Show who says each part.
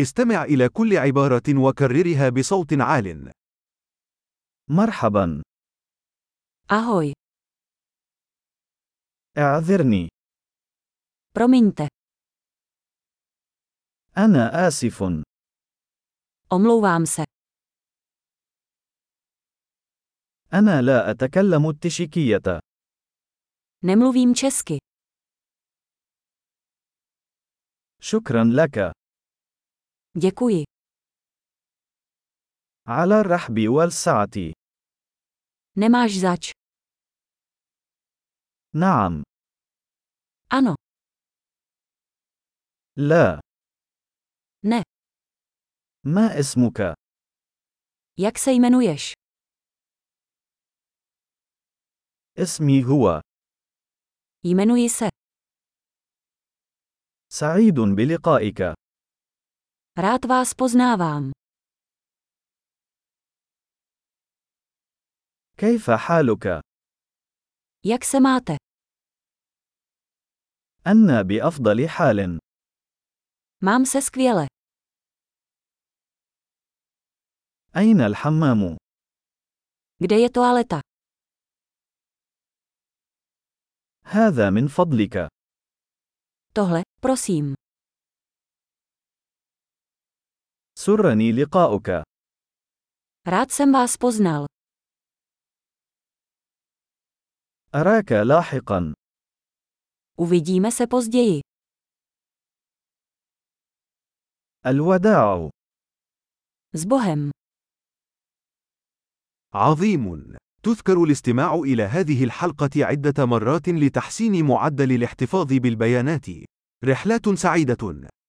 Speaker 1: استمع إلى كل عبارة وكررها بصوت عال.
Speaker 2: مرحبا
Speaker 3: Ahoj,
Speaker 2: اعذرني
Speaker 3: promiňte,
Speaker 2: انا اسف
Speaker 3: omlouvám se,
Speaker 2: انا لا اتكلم التشيكيه
Speaker 3: nemluvím česky,
Speaker 2: شكرا لك
Speaker 3: děkuji,
Speaker 2: على الرحب والسعه
Speaker 3: nemáš zač,
Speaker 2: نعم
Speaker 3: ano,
Speaker 2: لا
Speaker 3: ne,
Speaker 2: ما اسمك
Speaker 3: jak se jmenuješ?
Speaker 2: اسمي هو
Speaker 3: Jmenuji se,
Speaker 2: سعيد بلقائك
Speaker 3: rád vás poznávám,
Speaker 2: كيف حالك
Speaker 3: jak se máte?
Speaker 2: انا بافضل حال
Speaker 3: Mám se skvěle,
Speaker 2: اين الحمام
Speaker 3: kde je toaleta?
Speaker 2: هذا من فضلك
Speaker 3: Tohle, prosím,
Speaker 2: سرني لقاؤك
Speaker 3: rád jsem vás poznal,
Speaker 2: اراك لاحقا
Speaker 3: uvidíme se později,
Speaker 2: الوداع
Speaker 3: s Bohem.
Speaker 1: عظيم. تذكر الاستماع إلى هذه الحلقة عدة مرات لتحسين معدل الاحتفاظ بالبيانات. رحلات سعيدة.